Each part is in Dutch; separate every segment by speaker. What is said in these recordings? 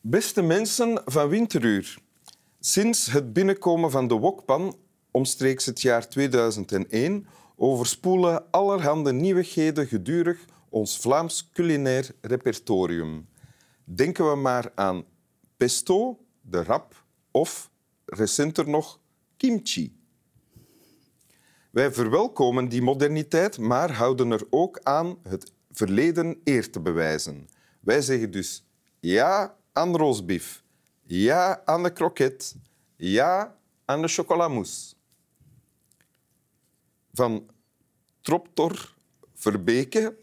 Speaker 1: Beste mensen van Winteruur. Sinds het binnenkomen van de wokpan, omstreeks het jaar 2001, overspoelen allerhande nieuwigheden gedurig ons Vlaams culinair repertorium. Denken we maar aan pesto, de rap, of, recenter nog, kimchi. Wij verwelkomen die moderniteit, maar houden er ook aan het verleden eer te bewijzen. Wij zeggen dus ja aan de roosbief, ja aan de kroket, ja aan de chocolamousse. Van Troptor Verbeke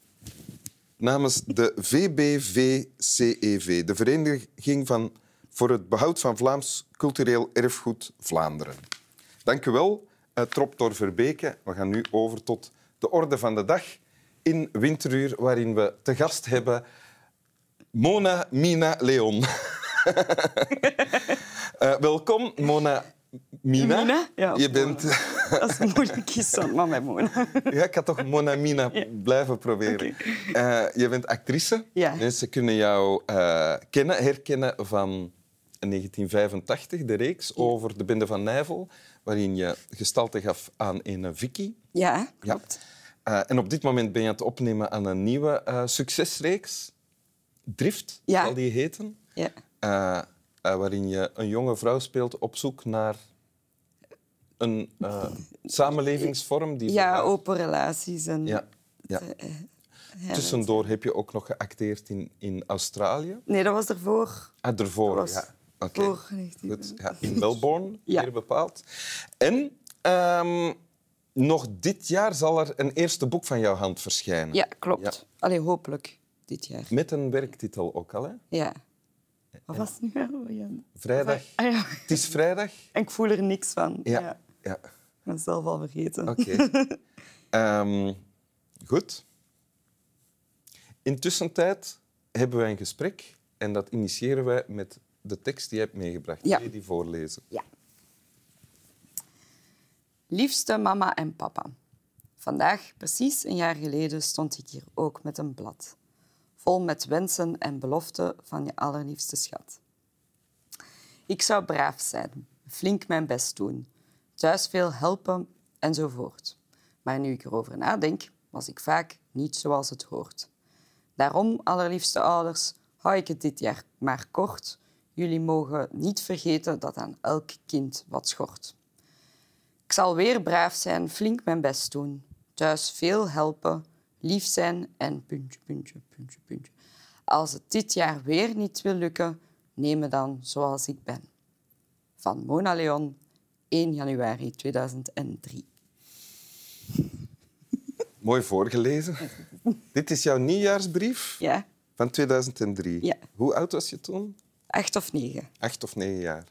Speaker 1: namens de VBVCEV, E de Vereniging van, voor het Behoud van Vlaams Cultureel Erfgoed Vlaanderen. Dank u wel, eh, Troptor Verbeke. We gaan nu over tot de orde van de dag in Winteruur, waarin we te gast hebben Mona Mina Leon. Eh, welkom, Mona Mina.
Speaker 2: Mina? Ja,
Speaker 1: Je bent...
Speaker 2: Dat is moeilijk is, dan, maar mijn moeder.
Speaker 1: Ja, ik ga toch Mona Mina blijven proberen. Eh, je bent actrice.
Speaker 2: Ja.
Speaker 1: Mensen kunnen jou eh, kennen, herkennen van 1985, de reeks over de Bende van Nijvel, waarin je gestalte gaf aan een Vicky.
Speaker 2: Ja,
Speaker 1: Ja.
Speaker 2: klopt.
Speaker 1: Eh, en op dit moment ben je aan het opnemen aan een nieuwe eh, succesreeks. Drift,
Speaker 2: Ja.
Speaker 1: zal die heten.
Speaker 2: Ja.
Speaker 1: Eh, eh, waarin je een jonge vrouw speelt op zoek naar een eh, samenlevingsvorm. Die
Speaker 2: Ja.
Speaker 1: verlaat-
Speaker 2: open relaties. En,
Speaker 1: ja, ja.
Speaker 2: eh,
Speaker 1: Tussendoor heb je ook nog geacteerd in, in Australië.
Speaker 2: Nee, dat was ervoor.
Speaker 1: Ah, daarvoor,
Speaker 2: was
Speaker 1: ja. Oké.
Speaker 2: voor 19.
Speaker 1: Goed, ja, in Melbourne,
Speaker 2: Ja.
Speaker 1: hier bepaald. En ehm, nog dit jaar zal er een eerste boek van jouw hand verschijnen.
Speaker 2: Ja, klopt. Allee, hopelijk dit jaar.
Speaker 1: Met een werktitel ook al, hè?
Speaker 2: Ja. Wat was het nu? weer? Ja.
Speaker 1: Vrijdag.
Speaker 2: Ah, ja.
Speaker 1: Het is vrijdag.
Speaker 2: En ik voel er niks van. Ja.
Speaker 1: Ja, ja.
Speaker 2: Ik ben zelf al vergeten.
Speaker 1: oké. Ehm, goed. Intussen tijd hebben wij een gesprek en dat initiëren wij met de tekst die je hebt meegebracht.
Speaker 2: Ja.
Speaker 1: Wil je die voorlezen?
Speaker 2: Ja. Liefste mama en papa. Vandaag, precies een jaar geleden, stond ik hier ook met een blad. Vol met wensen en beloften van je allerliefste schat. Ik zou braaf zijn, flink mijn best doen, thuis veel helpen enzovoort. Maar nu ik erover nadenk, was ik vaak niet zoals het hoort. Daarom, allerliefste ouders, hou ik het dit jaar maar kort. Jullie mogen niet vergeten dat aan elk kind wat schort. Ik zal weer braaf zijn, flink mijn best doen, thuis veel helpen, lief zijn en puntje, puntje, puntje, puntje. Als het dit jaar weer niet wil lukken, neem me dan zoals ik ben. Van Mona Leon, 1 januari 2003.
Speaker 1: Mooi voorgelezen. Dit is jouw nieuwjaarsbrief
Speaker 2: Ja,
Speaker 1: van 2003.
Speaker 2: Ja.
Speaker 1: Hoe oud was je toen?
Speaker 2: acht of negen?
Speaker 1: Acht of negen jaar.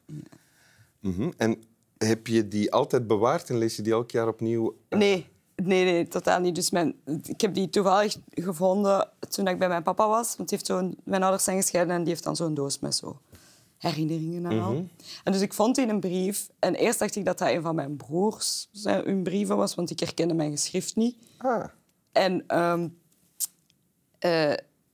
Speaker 1: Mhm. En heb je die altijd bewaard en lees je die elk jaar opnieuw?
Speaker 2: Nee, nee, nee, totaal niet. Dus mijn, ik heb die toevallig gevonden toen ik bij mijn papa was. Want die heeft zo'n, mijn ouders zijn gescheiden en die heeft dan zo'n doos met zo herinneringen en al.
Speaker 1: Mhm.
Speaker 2: En dus ik vond die in een brief. En eerst dacht ik dat dat een van mijn broers zijn, hun brieven was, want ik herkende mijn geschrift niet.
Speaker 1: Ah,
Speaker 2: En ehm, eh,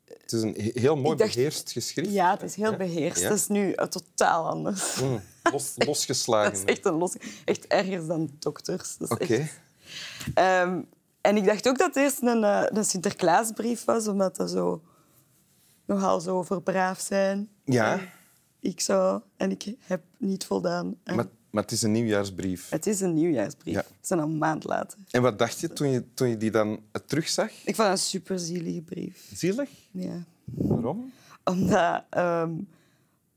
Speaker 1: het is een he- heel mooi
Speaker 2: Ik dacht-
Speaker 1: beheerst geschrift.
Speaker 2: ja, het is heel beheerst.
Speaker 1: Ja.
Speaker 2: Het is nu eh, totaal anders.
Speaker 1: Mm, los-
Speaker 2: Dat is
Speaker 1: losgeslagen.
Speaker 2: echt een los... Echt erger dan dokters. Dat is
Speaker 1: Oké.
Speaker 2: echt- Ehm, en ik dacht ook dat het eerst een, eh, een Sinterklaasbrief was, omdat dat zo nogal zo over braaf zijn.
Speaker 1: Ja,
Speaker 2: Ik zou en ik heb niet voldaan. En
Speaker 1: maar, maar het is een nieuwjaarsbrief.
Speaker 2: Het is een nieuwjaarsbrief.
Speaker 1: Ja.
Speaker 2: Het is dan een maand later.
Speaker 1: En wat dacht je toen je, toen je die dan eh, terugzag?
Speaker 2: Ik vond het een superzielige brief.
Speaker 1: Zielig?
Speaker 2: Ja.
Speaker 1: Waarom?
Speaker 2: Omdat, ehm,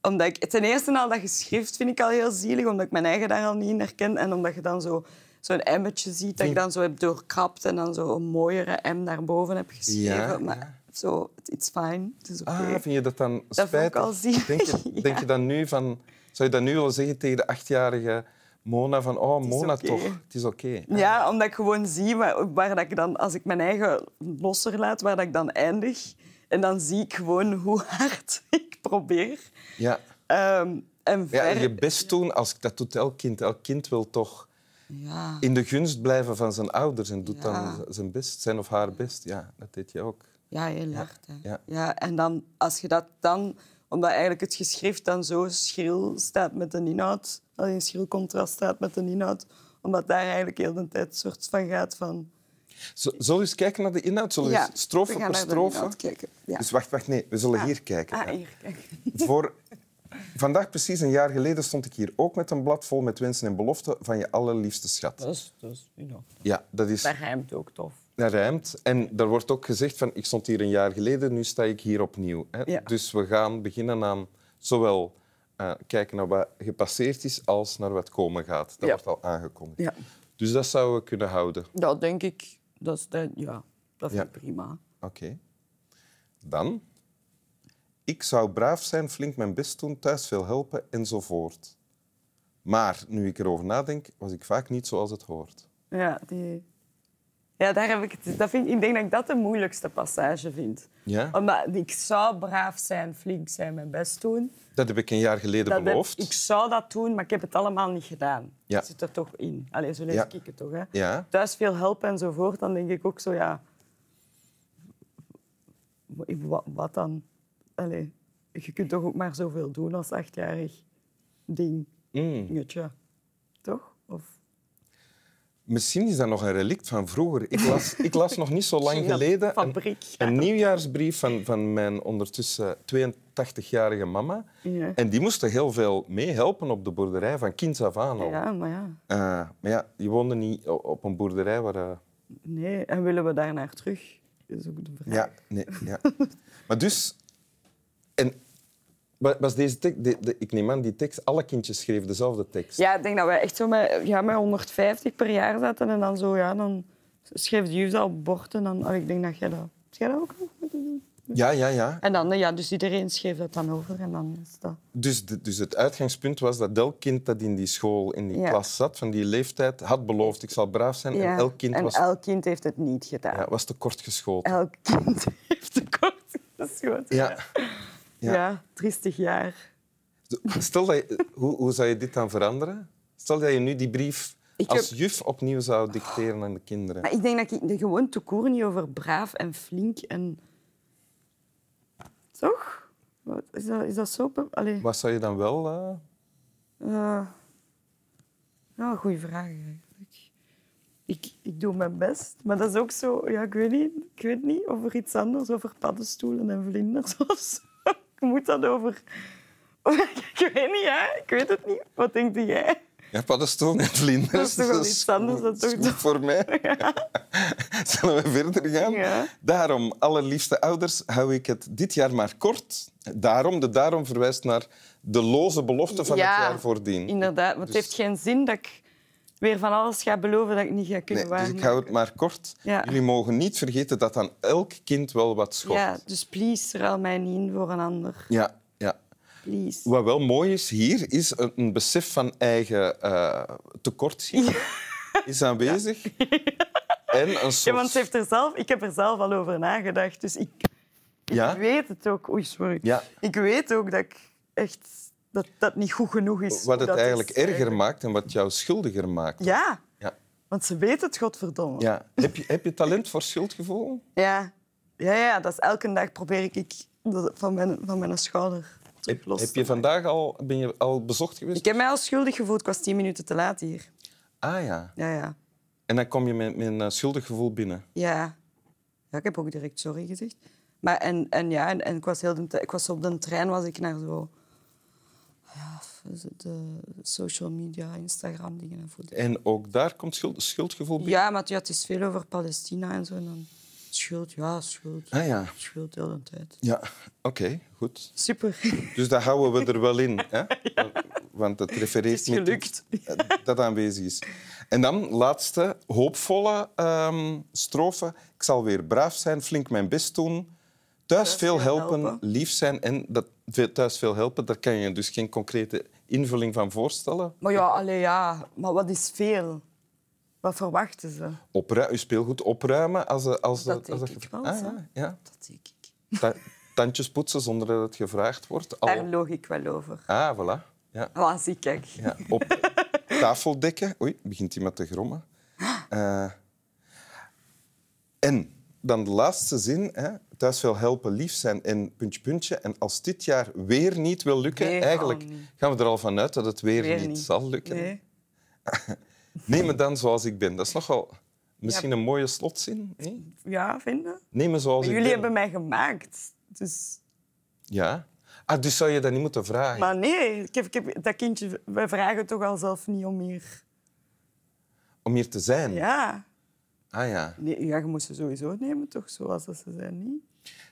Speaker 2: omdat ik ten eerste al dat geschrift vind ik al heel zielig, omdat ik mijn eigen daar al niet in herken. En omdat je dan zo, zo'n emmetje ziet
Speaker 1: Hm.
Speaker 2: dat ik dan zo heb doorkrapt en dan zo een mooiere M daarboven heb geschreven.
Speaker 1: Ja,
Speaker 2: maar zo, it's fine. Het is oké.
Speaker 1: Ah, vind je dat dan
Speaker 2: Dat vond ik
Speaker 1: spijtig?
Speaker 2: al zielig,
Speaker 1: Denk je,
Speaker 2: ja.
Speaker 1: denk je dan nu van... Zou je dat nu willen zeggen tegen de achtjarige Mona? Van, oh,
Speaker 2: is
Speaker 1: Mona
Speaker 2: oké.
Speaker 1: toch, het is oké.
Speaker 2: Ja, omdat ik gewoon zie waar, waar dat ik dan, als ik mijn eigen losser laat, waar dat ik dan eindig. En dan zie ik gewoon hoe hard ik probeer.
Speaker 1: Ja.
Speaker 2: Ehm, en
Speaker 1: Ja,
Speaker 2: ver...
Speaker 1: en je best doen, als, dat doet elk kind. Elk kind wil toch
Speaker 2: Ja.
Speaker 1: in de gunst blijven van zijn ouders en doet
Speaker 2: Ja.
Speaker 1: dan z- zijn best, zijn of haar best. Ja, dat deed je ook.
Speaker 2: Ja, heel hard. hè.
Speaker 1: ja.
Speaker 2: Ja. en dan, als je dat dan
Speaker 3: Omdat eigenlijk het geschrift dan zo schril staat met een inhoud. Alleen schril contrast staat met een inhoud. Omdat daar eigenlijk heel de tijd soort van gaat van...
Speaker 1: Z- Zullen we eens kijken naar de inhoud? Zullen we
Speaker 3: Ja,
Speaker 1: eens Oh, dus strofe
Speaker 3: we gaan
Speaker 1: per
Speaker 3: naar de
Speaker 1: strofe?
Speaker 3: inhoud kijken. Ja.
Speaker 1: Dus wacht, wacht, nee, we zullen
Speaker 3: Ah.
Speaker 1: hier kijken.
Speaker 3: Ah,
Speaker 1: Ja.
Speaker 3: hier, kijk.
Speaker 1: Voor vandaag precies een jaar geleden stond ik hier ook met een blad vol met wensen en beloften van je allerliefste schat.
Speaker 2: Dat is, dat is you know,
Speaker 1: Ja, dat is
Speaker 2: dat rijmt ook tof.
Speaker 1: dat rijmt. En daar wordt ook gezegd van ik stond hier een jaar geleden, nu sta ik hier opnieuw. Hè?
Speaker 3: Ja.
Speaker 1: Dus we gaan beginnen aan zowel eh, kijken naar wat gepasseerd is als naar wat komen gaat. Dat
Speaker 2: Ja.
Speaker 1: wordt al aangekondigd.
Speaker 2: Ja.
Speaker 1: Dus dat zouden we kunnen houden.
Speaker 2: Dat denk ik, dat, is dan- ja, dat vind
Speaker 1: Ja.
Speaker 2: ik prima.
Speaker 1: Oké. Dan. Ik zou braaf zijn, flink mijn best doen, thuis veel helpen enzovoort. Maar nu ik erover nadenk, was ik vaak niet zoals het hoort.
Speaker 2: Ja, die... ja daar heb ik, het- dat vind, ik denk dat ik dat de moeilijkste passage vind.
Speaker 1: Ja?
Speaker 2: Omdat ik zou braaf zijn, flink zijn, mijn best doen.
Speaker 1: Dat heb ik een jaar geleden
Speaker 2: Dat heb-
Speaker 1: beloofd.
Speaker 2: ik zou dat doen, maar ik heb het allemaal niet gedaan.
Speaker 1: Ja.
Speaker 2: Dat zit er toch in. Allee, zo lees
Speaker 1: Ja.
Speaker 2: ik het toch. Hè?
Speaker 1: Ja.
Speaker 2: Thuis veel helpen enzovoort, dan denk ik ook zo, ja... wa- Wat, wat dan? Allee, je kunt toch ook maar zoveel doen als achtjarig ding,
Speaker 1: Mm.
Speaker 2: dingetje. Toch? Of...
Speaker 1: Misschien is dat nog een relict van vroeger. Ik las, ik las nog niet zo lang
Speaker 2: Misschien dat
Speaker 1: geleden een,
Speaker 2: fabriek.
Speaker 1: een nieuwjaarsbrief van, van mijn ondertussen 82-jarige mama.
Speaker 2: Ja.
Speaker 1: En die moesten heel veel meehelpen op de boerderij van kinds af aan al.
Speaker 2: Ja, maar ja.
Speaker 1: Eh, maar ja, je woonde niet o- op een boerderij waar... eh,
Speaker 2: Nee, en willen we daar naar terug? Is ook de vraag.
Speaker 1: Ja, nee, ja. maar dus... En wa- was deze tekst... de- de- ik neem aan, die tekst... Alle kindjes schreven dezelfde tekst.
Speaker 2: Ja, ik denk dat wij echt zo met, ja, met 150 per jaar zaten. En dan zo, ja, dan schreef de juf dat op bord. En dan, oh, ik denk dat jij dat, heb jij dat ook nog moeten doen?
Speaker 1: ja, ja. ja.
Speaker 2: En dan, ja, dus iedereen schreef dat dan over. En dan is dat...
Speaker 1: Dus, de- dus het uitgangspunt was dat elk kind dat in die school, in die
Speaker 2: Ja.
Speaker 1: klas zat, van die leeftijd, had beloofd, ik zal braaf zijn.
Speaker 2: Ja,
Speaker 1: En elk kind
Speaker 2: en
Speaker 1: was,
Speaker 2: elk kind heeft het niet gedaan.
Speaker 1: ja, was te kort geschoten.
Speaker 2: Elk kind heeft tekort geschoten.
Speaker 1: Ja. ja.
Speaker 2: Ja. triestig jaar.
Speaker 1: Stel dat je, hoe, hoe zou je dit dan veranderen? Stel dat je nu die brief
Speaker 2: Ik
Speaker 1: als
Speaker 2: heb-
Speaker 1: juf opnieuw zou dicteren aan de kinderen.
Speaker 2: Maar ik denk dat ik er gewoon te koer niet over braaf en flink en... Toch? Wat, is, dat, is dat zo... be- Allee.
Speaker 1: Wat zou je dan wel... eh,
Speaker 2: Eh, nou, goede vraag eigenlijk. Ik, ik doe mijn best, maar dat is ook zo... Ja, ik weet niet, ik weet niet over iets anders, over paddenstoelen en vlinders of zo. Ik moet dat over... Ik weet niet, hè? Ik weet het niet. Wat denkt jij?
Speaker 1: Ja, paddenstoel en vlinders.
Speaker 2: Dat is toch wel iets anders dan
Speaker 1: goed- dat is
Speaker 2: toch
Speaker 1: goed
Speaker 2: dat-
Speaker 1: voor mij. Zullen we verder gaan?
Speaker 2: Ja.
Speaker 1: Daarom, allerliefste ouders, hou ik het dit jaar maar kort. Daarom, de daarom verwijst naar de loze belofte van het jaar voordien.
Speaker 2: Inderdaad, want het
Speaker 1: Dus-
Speaker 2: heeft geen zin dat ik weer van alles ga beloven dat ik niet ga kunnen
Speaker 1: Nee, dus ik
Speaker 2: waarmaken.
Speaker 1: hou het maar kort.
Speaker 2: Ja.
Speaker 1: Jullie mogen niet vergeten dat aan elk kind wel wat schort.
Speaker 2: Ja, dus please, ruil mij niet in voor een ander.
Speaker 1: ja, ja.
Speaker 2: Please.
Speaker 1: Wat wel mooi is hier, is een, een besef van eigen eh tekortschieten is aanwezig. En een soort...
Speaker 2: Ja, want ze heeft er zelf, ik heb er zelf al over nagedacht. Dus ik, ik
Speaker 1: Ja?
Speaker 2: weet het ook. Oei, sorry.
Speaker 1: Ja.
Speaker 2: Ik weet ook dat ik echt dat, dat niet goed genoeg is.
Speaker 1: Wat het
Speaker 2: Dat
Speaker 1: eigenlijk
Speaker 2: is-
Speaker 1: erger maakt en wat jou schuldiger maakt.
Speaker 2: Ja,
Speaker 1: Ja.
Speaker 2: want ze weet het, godverdomme.
Speaker 1: Ja. Heb, je, heb je talent voor schuldgevoel?
Speaker 2: Ja. ja, ja, dat is elke dag probeer ik- ik dat van mijn, van mijn schouder terug
Speaker 1: Heb,
Speaker 2: los
Speaker 1: heb
Speaker 2: te
Speaker 1: je vandaag al, ben je al bezocht
Speaker 2: maken.
Speaker 1: geweest?
Speaker 2: Ik heb mij al schuldig gevoeld. Ik was tien minuten te laat hier.
Speaker 1: Ah ja.
Speaker 2: Ja, ja.
Speaker 1: En dan kom je met, met een eh, schuldig gevoel binnen.
Speaker 2: Ja. ja ik heb ook direct sorry gezegd. Maar en, en ja, en, en ik was heel de, t- ik was op de trein was ik naar zo... Ja, is het, eh, social media, Instagram, dingen en voet.
Speaker 1: En ook daar komt schuld, schuldgevoel binnen?
Speaker 2: Ja, maar ja, het is veel over Palestina en zo. En dan schuld, ja, schuld.
Speaker 1: Ah ja.
Speaker 2: Schuld heel de tijd.
Speaker 1: Ja, oké, goed.
Speaker 2: Super.
Speaker 1: Dus dat houden we er wel in. Hè? Want het refereert
Speaker 2: Het is gelukt.
Speaker 1: met iets, eh, dat aanwezig is. En dan, laatste, hoopvolle ehm, strofe. Ik zal weer braaf zijn, flink mijn best doen. Thuis veel
Speaker 2: veel
Speaker 1: helpen,
Speaker 2: helpen.
Speaker 1: lief zijn. En dat ve- thuis veel helpen, daar kan je dus geen concrete invulling van voorstellen.
Speaker 2: Maar ja, allee, ja. Maar wat is veel? Wat verwachten ze?
Speaker 1: Opru- je speelgoed opruimen als, eh, als
Speaker 2: Dat
Speaker 1: als
Speaker 2: denk ik wel,
Speaker 1: Ah,
Speaker 2: zo.
Speaker 1: ja, ja.
Speaker 2: Dat denk ik.
Speaker 1: Ta- tandjes poetsen zonder dat het gevraagd wordt. Al-
Speaker 2: Daar loog ik wel over.
Speaker 1: Ah, voilà. Ja.
Speaker 2: Ah, zie, kijk.
Speaker 1: Ja, op tafeldekken. Oei, begint iemand te grommen. Eh, en dan de laatste zin. Hè. Thuis wil helpen, lief zijn en puntje, puntje. En als dit jaar weer niet wil lukken,
Speaker 3: Nee,
Speaker 1: eigenlijk
Speaker 3: gewoon niet.
Speaker 1: gaan we er al van uit dat het weer,
Speaker 3: Weer
Speaker 1: niet,
Speaker 3: niet.
Speaker 1: zal lukken.
Speaker 3: Nee.
Speaker 1: Neem me dan zoals ik ben. Dat is nogal misschien een mooie slotzin. Nee?
Speaker 2: Ja, vinden.
Speaker 1: Neem me zoals ik
Speaker 2: Jullie
Speaker 1: ben.
Speaker 2: hebben mij gemaakt. Dus...
Speaker 1: Ja. Ah, dus zou je dat niet moeten vragen?
Speaker 2: Maar nee, ik heb, ik heb, dat kindje, wij vragen toch al zelf niet om hier.
Speaker 1: Om hier te zijn?
Speaker 2: Ja.
Speaker 1: Ah ja.
Speaker 2: Nee, ja, je moest ze sowieso nemen, toch? Zoals dat ze zijn, niet?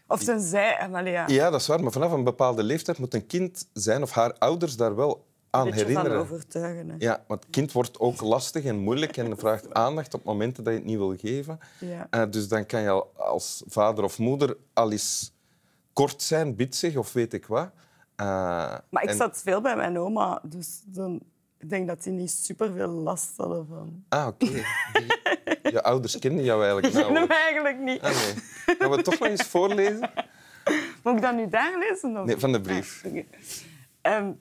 Speaker 2: Of tenzij... eh, Maar ja,
Speaker 1: Ja, dat is waar. Maar vanaf een bepaalde leeftijd moet een kind zijn of haar ouders daar wel aan
Speaker 2: een beetje van
Speaker 1: herinneren.
Speaker 2: overtuigen. Hè.
Speaker 1: Ja, want het kind wordt ook lastig en moeilijk en vraagt aandacht op momenten dat je het niet wil geven.
Speaker 2: Ja.
Speaker 1: Eh, dus dan kan je al als vader of moeder al eens kort zijn, bitsig of weet ik wat. Eh,
Speaker 2: Maar ik
Speaker 1: en-
Speaker 2: zat veel bij mijn oma, dus dan, ik denk dat die niet superveel last hadden van.
Speaker 1: Ah, oké. Die- Je ouders kenden jou eigenlijk
Speaker 2: Ik vind hem
Speaker 1: nauwelijks.
Speaker 2: eigenlijk niet.
Speaker 1: Nou, Ah, nee. Gaan we het toch nog eens voorlezen?
Speaker 2: Moet ik dat nu daar lezen? Of? Ah,
Speaker 1: Nee, van de brief.
Speaker 2: Oké. Ehm,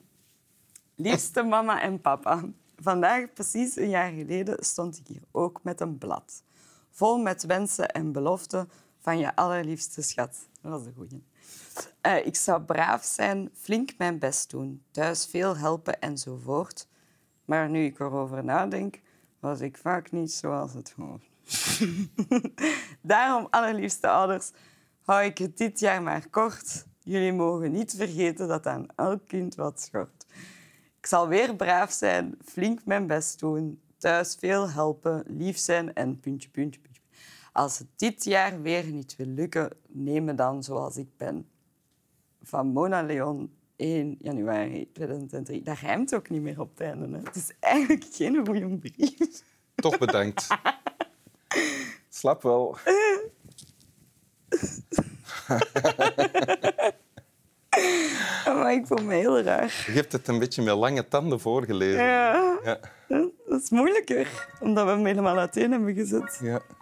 Speaker 2: liefste mama en papa, vandaag precies een jaar geleden stond ik hier ook met een blad. Vol met wensen en beloften van je allerliefste schat. Dat was de goeie. Eh, ik zou braaf zijn, flink mijn best doen, thuis veel helpen enzovoort. Maar nu ik erover nadenk, was ik vaak niet zoals het hoort. Daarom, allerliefste ouders, hou ik het dit jaar maar kort. Jullie mogen niet vergeten dat aan elk kind wat schort. Ik zal weer braaf zijn, flink mijn best doen, thuis veel helpen, lief zijn en puntje, puntje, puntje. Als het dit jaar weer niet wil lukken, neem me dan zoals ik ben. Van Mona Leon, 1 januari 2003. Dat rijmt ook niet meer op het einde. Hè? Het is eigenlijk geen goede brief.
Speaker 1: Toch bedankt. Slap wel.
Speaker 2: Maar ik voel me heel raar.
Speaker 1: Je hebt het een beetje met lange tanden voorgelezen.
Speaker 2: Ja.
Speaker 1: Ja.
Speaker 2: Dat is moeilijker, omdat we hem helemaal uiteen hebben gezet.
Speaker 1: ja.